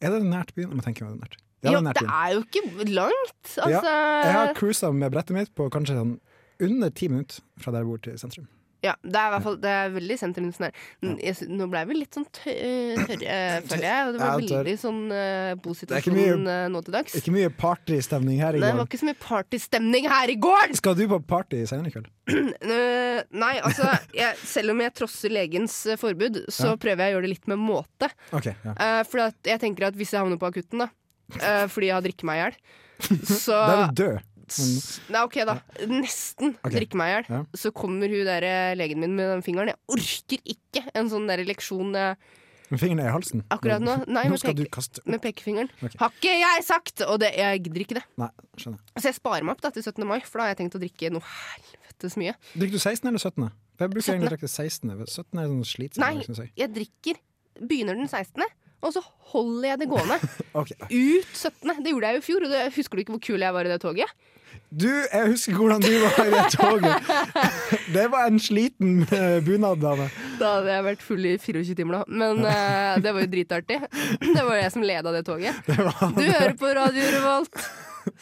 S3: Er det nært byen? Jeg må tenke meg det er nært. Ja, det
S2: jo,
S3: er nært
S2: det
S3: byen.
S2: er jo ikke langt! Altså
S3: Jeg har cruisa med brettet mitt på kanskje sånn under ti minutter fra der jeg bor til sentrum.
S2: Ja, det er i hvert fall Det er veldig sentrumsnær. N- jeg sy- Nå ble vi litt sånn tø- eh, tørre, føler jeg. Og det var
S3: Ja, tørr.
S2: veldig sånn uh,
S3: Det er
S2: bosituasjon
S3: ikke mye-
S2: eh, nå til dags.
S3: Ikke mye partystemning her i
S2: Nei, det
S3: går.
S2: var ikke så mye partystemning her i går!
S3: Skal du på party senere i kveld?
S2: Eh, nei, altså jeg, Selv om jeg trosser legens eh, forbud, så prøver jeg å gjøre det litt med måte.
S3: Ok, ja.
S2: Uh, for at jeg tenker at hvis jeg havner på akutten da eh, fordi jeg har drikket meg i hjel, så
S3: Da er du død.
S2: s- Nei, OK, da. Nesten
S3: Ok.
S2: drikke meg i hjel.
S3: Ja.
S2: Så kommer hun der, eh, legen min med den fingeren. Jeg orker ikke en sånn der leksjon eh,
S3: Men fingeren er i halsen.
S2: akkurat nå. Nei,
S3: Nå
S2: med,
S3: skal du
S2: peke,
S3: kaste
S2: med pekefingeren.
S3: Ok.
S2: Har ikke jeg sagt! Og det, jeg gidder ikke det.
S3: Nei, skjønner.
S2: Så jeg sparer meg opp da til 17. mai, for da har jeg tenkt å drikke noe helvetes mye.
S3: Drikker du 16 eller 17? For Jeg bruker egentlig å drikke 16. for 17 er sånn slitsomt.
S2: Nei,
S3: synes jeg.
S2: jeg drikker Begynner den 16., og så holder jeg det gående
S3: Ok.
S2: ut 17. Det gjorde jeg jo i fjor, og det, husker du ikke hvor kul jeg var i det toget?
S3: Du, jeg husker hvordan du var i det toget. Det var en sliten eh, bunaddame.
S2: Da hadde jeg vært full i 24 timer, da. Men eh, det var jo dritartig. Det var jeg som leda det toget.
S3: Det var
S2: Du hører på Radio Revolt,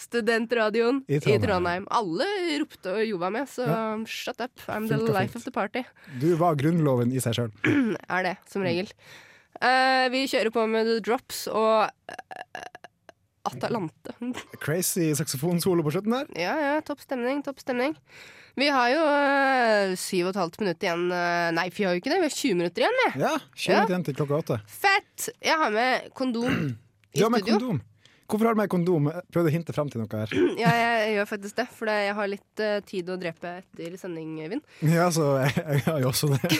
S2: studentradioen i
S3: I Trondheim.
S2: Trondheim. Alle ropte og jova med, så shut up. I'm the
S3: Funka
S2: life
S3: fint.
S2: of the party.
S3: Du var grunnloven i seg sjøl.
S2: Er det, som regel. Eh, vi kjører på med The Drops og eh, Atalante.
S3: Crazy saksofonsolo på slutten der.
S2: Ja, ja, topp stemning, topp stemning. Vi har jo øh, syv og et halvt minutt igjen. øh, nei, vi har jo ikke det. Vi har 20 minutter igjen. vi.
S3: Ja, Kjør
S2: Ja.
S3: litt igjen til klokka åtte.
S2: Fett! Jeg har med kondom i
S3: Du har med
S2: studio.
S3: kondom. Hvorfor har du med kondom? Jeg Prøvde å hinte frem til noe her.
S2: Ja, jeg gjør faktisk det, for jeg har litt øh, tid å drepe etter sending, Øyvind.
S3: Ja, så jeg, jeg har jo også det.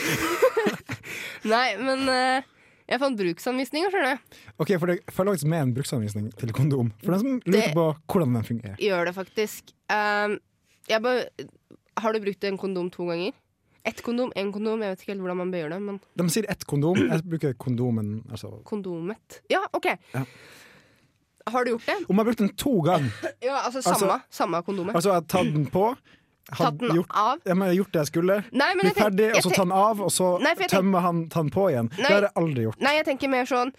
S2: Nei, men øh, jeg fant bruksanvisninger, skjønner du.
S3: Ok, for det følger faktisk med en bruksanvisning til kondom. For den som lurer
S2: Det-
S3: på hvordan den fungerer.
S2: Gjør det faktisk. Ehm, jeg bare Har du brukt en kondom to ganger? Ett kondom, én kondom, jeg vet ikke helt hvordan man bør gjøre det, men
S3: De sier ett kondom. Jeg bruker kondomen. Altså.
S2: kondomet Ja, OK.
S3: Ja.
S2: Har du gjort det?
S3: Om jeg har brukt den to ganger,
S2: Ja, altså
S3: Altså-
S2: samme, samme kondomet.
S3: altså jeg har tatt den på
S2: Tatt den
S3: gjort,
S2: av?
S3: ja, men jeg har gjort det jeg skulle,
S2: Nei, men
S3: blitt
S2: jeg tenk-
S3: ferdig, og
S2: jeg
S3: så
S2: tenk-
S3: ta den av, og så
S2: Nei, for jeg tenk-
S3: tømmer han ta den på igjen. Det
S2: Nei.
S3: har jeg aldri gjort.
S2: Nei, jeg tenker mer sånn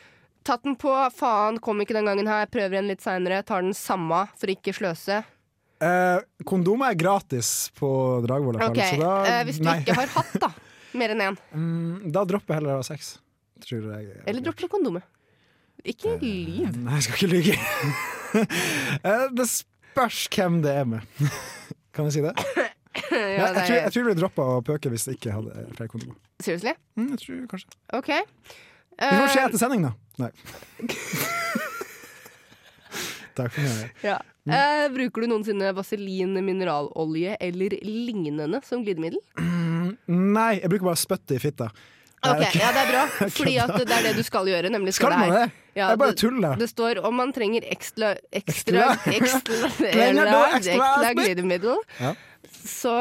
S2: Tatt den på, faen, kom ikke den gangen her, prøver igjen litt seinere, tar den samme for ikke sløse.
S3: Eh, kondomer er gratis på Dragvoll. i hvert
S2: Ok,
S3: fall, så da,
S2: eh, Hvis du
S3: nei.
S2: ikke har hatt, da. Mer enn én.
S3: Mm, da dropper jeg heller å ha sex. Tror jeg.
S2: Eller dropper kondomet. Ikke
S3: Eh,
S2: lyv.
S3: Nei, jeg skal ikke lyge. Eh, det spørs hvem det er med. Kan jeg si det?
S2: Ja,
S3: jeg,
S2: det
S3: jeg, tror, jeg tror jeg ville droppa å pøke hvis jeg ikke hadde eh, flere kondomer.
S2: Seriously?
S3: Mm, jeg tror kanskje
S2: OK.
S3: Vi får se
S2: Eh,
S3: etter sending, da. Nei. Takk for meg.
S2: ja. Eh, bruker du noensinne vaselin, mineralolje eller lignende som glidemiddel?
S3: Nei, jeg bruker bare spytte i fitta.
S2: Ok, ja, det er bra, fordi at det er det du skal gjøre. Nemlig
S3: Skal man det?
S2: Ja,
S3: jeg bare
S2: det-
S3: tuller.
S2: Det står om man trenger ekstra Ekstra
S3: Ekstra?
S2: Ekstra,
S3: Trenger du
S2: ekstra,
S3: ekstra spytt?
S2: glidemiddel.
S3: Ja.
S2: Så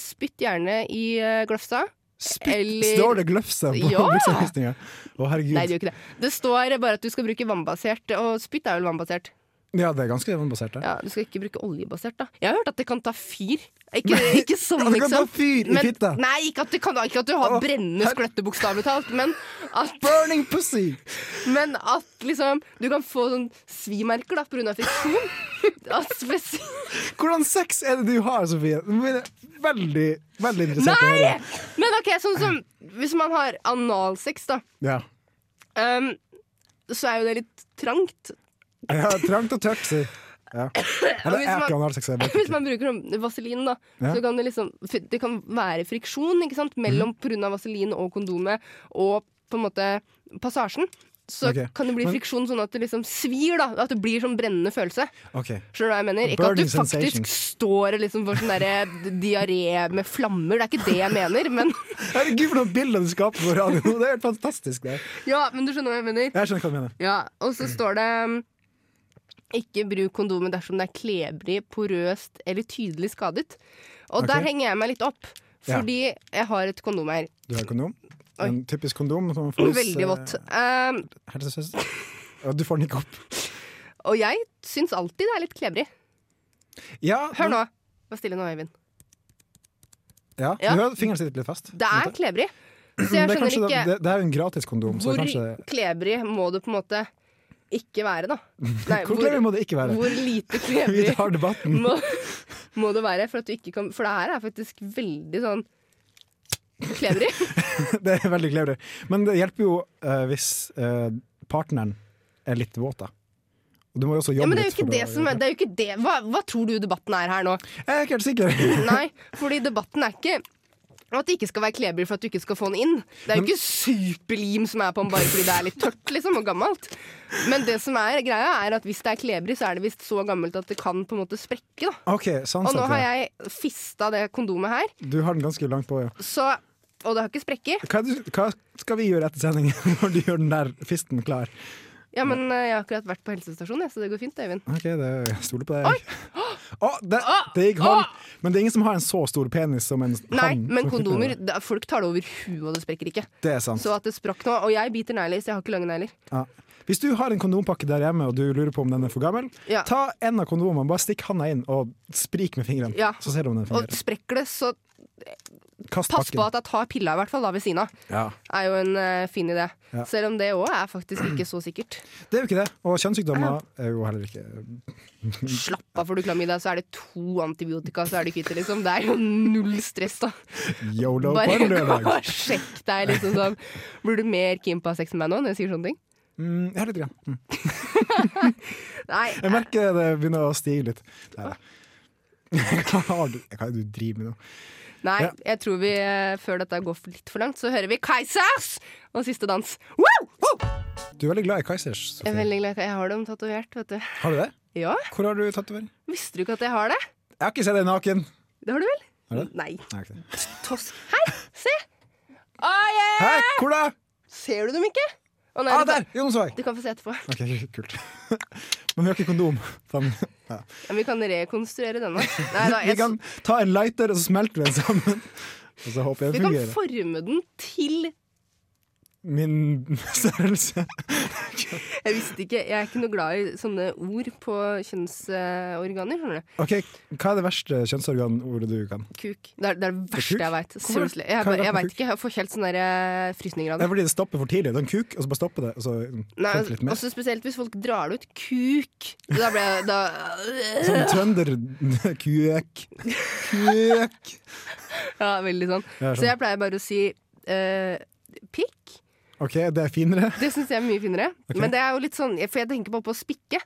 S2: spytt gjerne i eh, Gløfstad.
S3: Spytt!
S2: eller-
S3: Står det gløfse på
S2: Ja!
S3: bruksanvisninga? Å, herregud.
S2: Nei, det gjør ikke det. Det står bare at du skal bruke vannbasert, og spytt er vel vannbasert.
S3: Ja, det er ganske vannbasert, det.
S2: Ja, du skal ikke bruke oljebasert, da. Jeg har hørt at det kan ta fyr. Ikke, ikke sånn,
S3: Ja, det kan ta
S2: liksom.
S3: fyr i
S2: Men-
S3: fitta.
S2: Nei, ikke at, det kan, ikke at du har
S3: Å,
S2: brennende skløtte, bokstavelig talt, men at,
S3: Burning pussy!
S2: men at liksom Du kan få sånn svimerker da, pga. friksjon. At spes-
S3: Hvordan sex er det du har, Sofie? Nå blir jeg Veldig, veldig interessert i å høre.
S2: Nei! Men OK, sånn som hvis man har analsex, da,
S3: Ja.
S2: ehm, så er jo det litt trangt.
S3: Jeg har trangt og tørt, si. Ja. Eller
S2: hvis
S3: jeg er
S2: man-
S3: ikke analsex, jeg vet
S2: Hvis
S3: ikke.
S2: man bruker sånn vaselin, da,
S3: Ja.
S2: så kan det liksom Det kan være friksjon ikke sant?
S3: Mhm.
S2: mellom på grunn av vaselin og kondomet og på en måte passasjen. Så
S3: Ok,
S2: kan det bli
S3: men-
S2: friksjon sånn at det liksom svir. da At det blir sånn brennende følelse.
S3: Ok.
S2: Skjønner du hva jeg mener? Ikke at du
S3: Burning
S2: faktisk
S3: sensation.
S2: står og liksom får sånn derre diaré med flammer. Det er ikke det jeg mener, men
S3: Herregud, for noen bilder du skaper på radio! Det er helt fantastisk. Det.
S2: Ja, men du skjønner hva jeg mener?
S3: Jeg skjønner hva du mener.
S2: Ja, og så står det um, ikke bruk kondomet dersom det er klebrig, porøst eller tydelig skadet. Og
S3: Ok.
S2: der henger jeg meg litt opp,
S3: Ja.
S2: fordi jeg har et kondom her.
S3: Du har kondom?
S2: Oi.
S3: En typisk kondom. Som man får hos, eh,
S2: Veldig vått. Um,
S3: helsesøster. Ja, du får den ikke opp.
S2: og jeg syns alltid det er litt klebrig.
S3: Ja,
S2: Hør nå. Vær stille nå, Øyvind.
S3: Ja, du
S2: Ja.
S3: hører fingeren sitter litt fast.
S2: Det er klebrig. Så jeg
S3: det, er
S2: skjønner
S3: kanskje,
S2: ikke
S3: det, det er jo en gratis kondom, så
S2: hvor
S3: kanskje
S2: klebrig må det på en måte ikke være, da. Nei,
S3: Hvor klemmig må det ikke være?
S2: hvor lite
S3: Vi
S2: klebrig
S3: tar debatten.
S2: må, må det være for at du ikke kan For det her er faktisk veldig sånn klebrig.
S3: Det er veldig klebrig. Men det hjelper jo eh, hvis eh, partneren er litt våt, da. Og du må jo også
S2: Ja,
S3: jobbe
S2: men det er jo
S3: litt.
S2: ikke
S3: for
S2: det
S3: å-
S2: som er, det er jo ikke det. Hva, hva tror du debatten er her nå?
S3: Jeg er ikke helt sikker.
S2: Nei, fordi debatten er ikke at det ikke skal være klebrig for at du ikke skal få den inn. Det er jo ikke superlim som er på den bare fordi det er litt tørt liksom, og gammelt. Men det som er greia er at hvis det er klebrig, så er det visst så gammelt at det kan på en måte sprekke. Da.
S3: OK, sånn
S2: Og nå
S3: sett.
S2: har
S3: ja.
S2: jeg fista det kondomet her,
S3: Du har den ganske langt på, ja.
S2: så, og det har ikke sprekker.
S3: Hva, er det- hva skal vi gjøre etter sendingen, når du gjør den der fisten klar?
S2: Ja, men eh, jeg har akkurat vært på helsestasjonen, jeg, så det går fint, Øyvind.
S3: OK, det, jeg stoler på deg. Å, det,
S2: Ah!
S3: det gikk hånd. Men det er ingen som har en så stor penis som en
S2: Nei,
S3: hann.
S2: men kondomer det- Folk tar det over huet, og det sprekker ikke.
S3: Det er sant.
S2: Så at det sprakk nå Og jeg biter negler, så jeg har ikke lange negler.
S3: Ja. Hvis du har en kondompakke der hjemme og du lurer på om den er for gammel,
S2: Ja.
S3: ta en av kondomene, bare stikk handa inn og sprik med fingeren.
S2: Ja.
S3: Så ser du om den
S2: Og
S3: fungerer.
S2: sprekker det, så
S3: Kast
S2: pass på
S3: pakken.
S2: at jeg tar pilla i hvert fall da ved siden av.
S3: Ja.
S2: Er jo en eh, fin idé.
S3: Ja.
S2: Selv om det òg er faktisk ikke så sikkert.
S3: Det er jo ikke det. Og kjønnssykdommer er jo heller ikke
S2: Slapp av, får du klamydia, så er det to antibiotika, så er du kvitt det, liksom. Det er jo null stress, da.
S3: eh, yolo på
S2: Bare
S3: en
S2: gå
S3: lørdag.
S2: og sjekk deg, liksom sånn. Blir du mer keen på å ha sex med meg nå når jeg sier sånne ting?
S3: Mm, ja, litt. Grann. Mm.
S2: Nei.
S3: Jeg merker det begynner å stige litt. Nei, da. Hva har du- hva er det du driver med nå?
S2: Nei,
S3: Ja.
S2: jeg tror vi eh, før dette går for- litt for langt, så hører vi Kaizers og siste dans. Wow! Wow!
S3: Du er veldig glad i Kaizers.
S2: Jeg er
S3: Sofie.
S2: veldig glad Jeg har dem tatovert, vet du.
S3: Har du det?
S2: Ja,
S3: Hvor har du tatovering?
S2: visste du ikke at jeg har det?
S3: Jeg har ikke sett deg naken.
S2: Det har du vel?
S3: Har du det?
S2: Nei.
S3: Nei, ok.
S2: Tosk. Hei, se! Å, yeah!
S3: Hei, hvor da?
S2: Ser du dem ikke? Å, nei,
S3: Ah,
S2: du,
S3: der!
S2: kan,
S3: Jo, nå så jeg.
S2: du kan få se etterpå.
S3: OK, kult. Men vi har ikke kondom. Faen. Ja.
S2: Ja, vi kan rekonstruere denne. Nei, da,
S3: Vi
S2: jeg,
S3: kan ta en lighter, og så smelter vi den sammen. Og så håper jeg
S2: vi
S3: den
S2: kan
S3: fungerer.
S2: forme den til
S3: Min størrelse.
S2: Jeg visste ikke, jeg er ikke noe glad i sånne ord på kjønnsorganer. skjønner du?
S3: Ok, Hva er det verste kjønnsorganordet du kan?
S2: Kuk. Det er det, er det verste
S3: kuk?
S2: jeg veit.
S3: Hvorfor?
S2: Seriously. Jeg,
S3: Hva er
S2: bare-
S3: det
S2: jeg
S3: for
S2: vet
S3: kuk?
S2: ikke, jeg får helt sånne der, eh, frysninger av
S3: Det
S2: det.
S3: er fordi det stopper for tidlig. Det er en kuk, og så bare stopper det. Og så
S2: Nei, altså,
S3: folk litt mer.
S2: også spesielt hvis folk drar det ut. Kuk! Da ble jeg da,
S3: Sånn trønder-kuk. Kuk.
S2: Ja, veldig sånn.
S3: Ja, sånn.
S2: Så jeg pleier bare å si eh, pikk.
S3: OK, det er finere.
S2: Det syns jeg er mye finere. Men det er jo litt sånn, for jeg tenker bare på å spikke.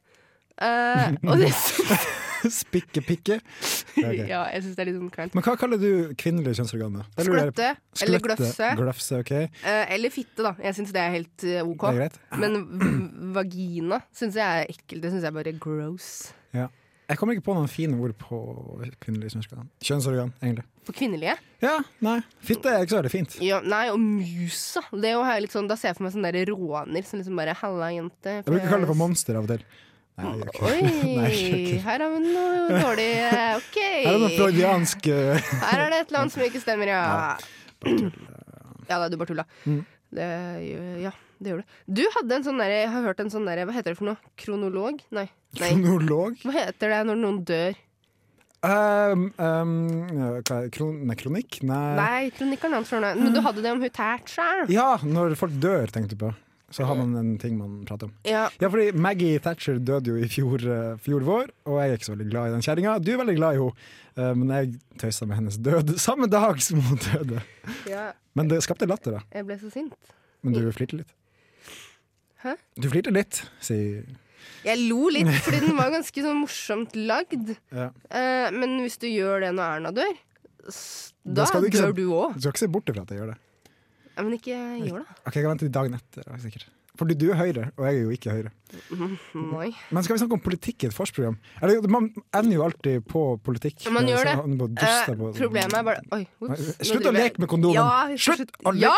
S2: Eh, og det syns
S3: Spikke-pikke. Ja, ok.
S2: Ja, jeg syns det er litt sånn kleint.
S3: Men hva kaller du kvinnelige kjønnsorganer? Jeg lurer på-
S2: Skløtte eller gløfse.
S3: Gløfse, OK.
S2: eh, eller fitte, da. Jeg syns det er helt eh, OK.
S3: Det er greit.
S2: Men v- vagina syns jeg er ekkelt. Det syns jeg bare er gross.
S3: Ja. Jeg kommer ikke på noen fine ord på kvinnelige kjønnsorgan. Kjønnsorgan, egentlig.
S2: På kvinnelige?
S3: Ja, nei. Fitte er ikke så veldig fint.
S2: Ja, nei, og musa. Det er jo her litt sånn, da ser jeg for meg sånne der råner som liksom bare 'Halla, jente'.
S3: Jeg bruker kalle det for monster av og til. Nei, jeg gjør ikke det. Nei, jeg gjør ikke
S2: Oi,
S3: det.
S2: her har vi noe dårlig eh, OK.
S3: Her er det noe freudiansk eh,
S2: Her er det et eller annet som ikke stemmer, ja. Ja, nei, du bare tulla.
S3: Mm.
S2: Det, gjør- ja, det gjør du. Du hadde en sånn der, jeg har hørt en sånn der, hva heter det for noe? Kronolog? Nei. nei.
S3: kronolog.
S2: Hva heter det når noen dør?
S3: Um, um, hva er- kron, nei, kronikk? Nei.
S2: Nei, kronikeren hans for noe. Men du hadde det om hun Thatcher.
S3: Ja, når folk dør, tenkte jeg på. Så har man en ting man prater om.
S2: Ja.
S3: Ja, fordi Maggie Thatcher døde jo i fjor, eh, fjor vår, og jeg er ikke så veldig glad i den kjerringa. Du er veldig glad i henne, eh, men jeg tøysa med hennes død samme dag som hun døde.
S2: ja,
S3: Men det skapte latter, da.
S2: jeg ble så sint.
S3: Men du flirte litt.
S2: Hæ?
S3: Du flirte litt, sier
S2: Jeg lo litt, fordi den var ganske sånn morsomt lagd.
S3: ja.
S2: Eh, men hvis du gjør det når Erna dør, s-
S3: Da
S2: da
S3: skal du ikke
S2: dør
S3: se-
S2: du òg.
S3: Du skal ikke se bort ifra at jeg gjør det.
S2: Ja, men ikke gjør det.
S3: Ok, Jeg kan vente til dagen etter. da, sikkert. Fordi du er Høyre, og jeg er jo ikke Høyre.
S2: Nei.
S3: Men skal vi snakke om politikk i et forsprogram? Eller, man ender jo alltid på politikk.
S2: Ja, man gjør det.
S3: Sånn, på å dyste
S2: Eh,
S3: på-
S2: problemet er bare Oi, ups.
S3: Nei,
S2: Nå
S3: Slutt å
S2: driver jeg-
S3: leke med kondomen!
S2: Ja,
S3: slutt å leke!
S2: Ja!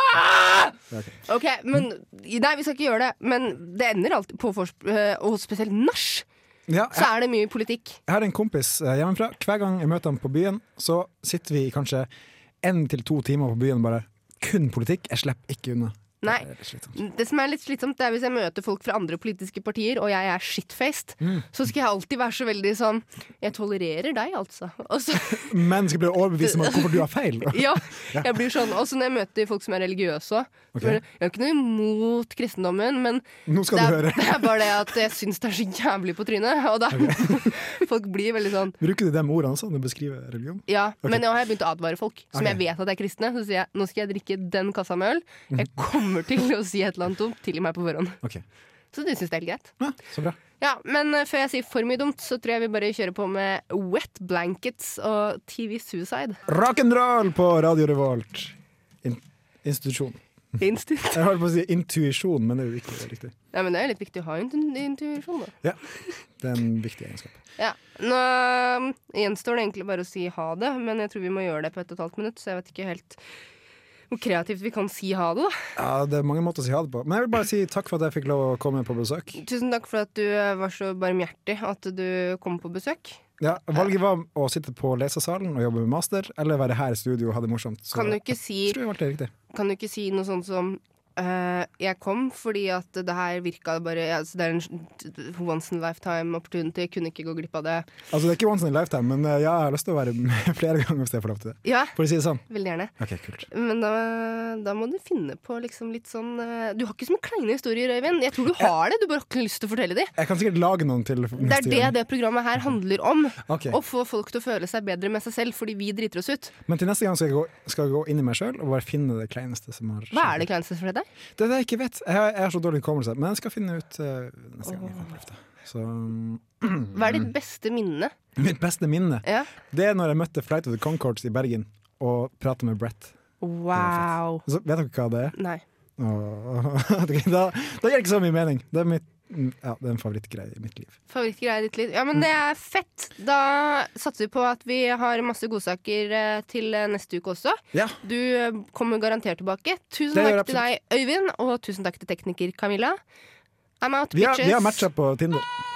S3: Ja, ok.
S2: OK, men Nei, vi skal ikke gjøre det. Men det ender alltid på forsp... eh, Og spesielt nach,
S3: Ja,
S2: så er det mye politikk.
S3: Jeg har en kompis eh, hjemmefra. Hver gang jeg møter ham på byen, så sitter vi i kanskje én til to timer på byen bare kun politikk. Jeg slipper ikke unna.
S2: Nei.
S3: Det er slitsomt.
S2: Det som er litt slitsomt, det er hvis jeg møter folk fra andre politiske partier, og jeg er shitfaced,
S3: Mm.
S2: så skal jeg alltid være så veldig sånn Jeg tolererer deg, altså. Og så,
S3: Men skal bli overbevist om at hvorfor du har feil.
S2: ja, jeg blir sånn. Og så når jeg møter folk som er religiøse òg.
S3: Ok.
S2: Jeg har ikke noe imot kristendommen, men
S3: Nå skal
S2: det
S3: du
S2: er,
S3: høre.
S2: det er bare det at jeg syns det er så jævlig på trynet. Og da Folk blir veldig sånn
S3: Bruker du de ordene også når du beskriver religion?
S2: Ja, men nå har jeg begynt å advare folk som
S3: Ok.
S2: jeg vet at er kristne. Så sier jeg nå skal jeg drikke den kassa med øl. Jeg
S3: Mhm.
S2: kommer til å si et eller annet dumt. Tilgi meg på forhånd.
S3: Ok.
S2: Så du syns det er helt greit.
S3: Ja, så bra.
S2: Ja, Men eh, før jeg sier for mye dumt, så tror jeg vi bare kjører på med Wet Blankets og TV Suicide.
S3: Rock'n'roll på Radio Revolt. In institusjon.
S2: Instinkt.
S3: Jeg holdt på å si intuisjon, men det er jo ikke riktig.
S2: Nei, men det er jo litt viktig å ha intu intuisjon, da.
S3: Ja, Det er en viktig egenskap.
S2: Ja, Nå eh, gjenstår det egentlig bare å si ha det, men jeg tror vi må gjøre det på ett og et halvt minutt, så jeg vet ikke helt hvor kreativt vi kan si ha det, da.
S3: Ja, Det er mange måter å si ha det på. Men jeg vil bare si takk for at jeg fikk lov å komme på besøk.
S2: Tusen takk for at du eh, var så barmhjertig at du kom på besøk.
S3: Ja, Valget var å sitte på lesesalen og jobbe med master, eller være her i studio og ha det morsomt. Så
S2: Kan du ikke si,
S3: jeg tror jeg valgte det riktig.
S2: kan du ikke si noe sånt som eh, jeg kom fordi at det her virka bare altså Det er en once in a lifetime opportunity, jeg kunne ikke gå glipp av det.
S3: Altså, det er ikke once in a lifetime, men eh, ja, jeg har lyst til å være med flere ganger hvis jeg får lov til det.
S2: Ja,
S3: For å si det sånn.
S2: veldig gjerne.
S3: Ok, kult.
S2: Men da, da må du finne på liksom litt sånn eh, Du har ikke så mye kleine historier, Øyvind. Jeg tror du har det, du bare har ikke lyst til å fortelle de.
S3: Jeg kan sikkert lage noen til
S2: Det er
S3: neste
S2: det
S3: gang.
S2: det programmet her handler om.
S3: Ok.
S2: Å få folk til å føle seg bedre med seg selv fordi vi driter oss ut.
S3: Men til neste gang skal jeg gå, skal jeg gå inn i meg sjøl og bare finne det kleineste som har
S2: Hva er det kleineste for deg?
S3: Det er det jeg ikke vet. Jeg har, jeg har så dårlig hukommelse. Men jeg skal finne ut eh, neste gang jeg kommer på lufta. Så mm,
S2: Hva er ditt beste minne?
S3: mitt beste minne,
S2: Ja.
S3: det er når jeg møtte Flight of the Concords i Bergen og prata med Brett.
S2: Wow.
S3: Så, vet dere hva det er?
S2: Nei.
S3: Åh, ok, da, da gir det ikke så mye mening. Det er, mitt, mm, ja, det er en favorittgreie i mitt liv.
S2: Favorittgreie i ditt liv. Ja,
S3: Mm.
S2: men det er fett. Da satser vi på at vi har masse godsaker eh, til eh, neste uke også.
S3: Ja,
S2: Du eh, kommer garantert tilbake. Tusen
S3: Det gjør
S2: takk til deg, Øyvind, og tusen takk til tekniker Camilla. I'm out,
S3: Vi har,
S2: bitches.
S3: vi har matcha på Tinder.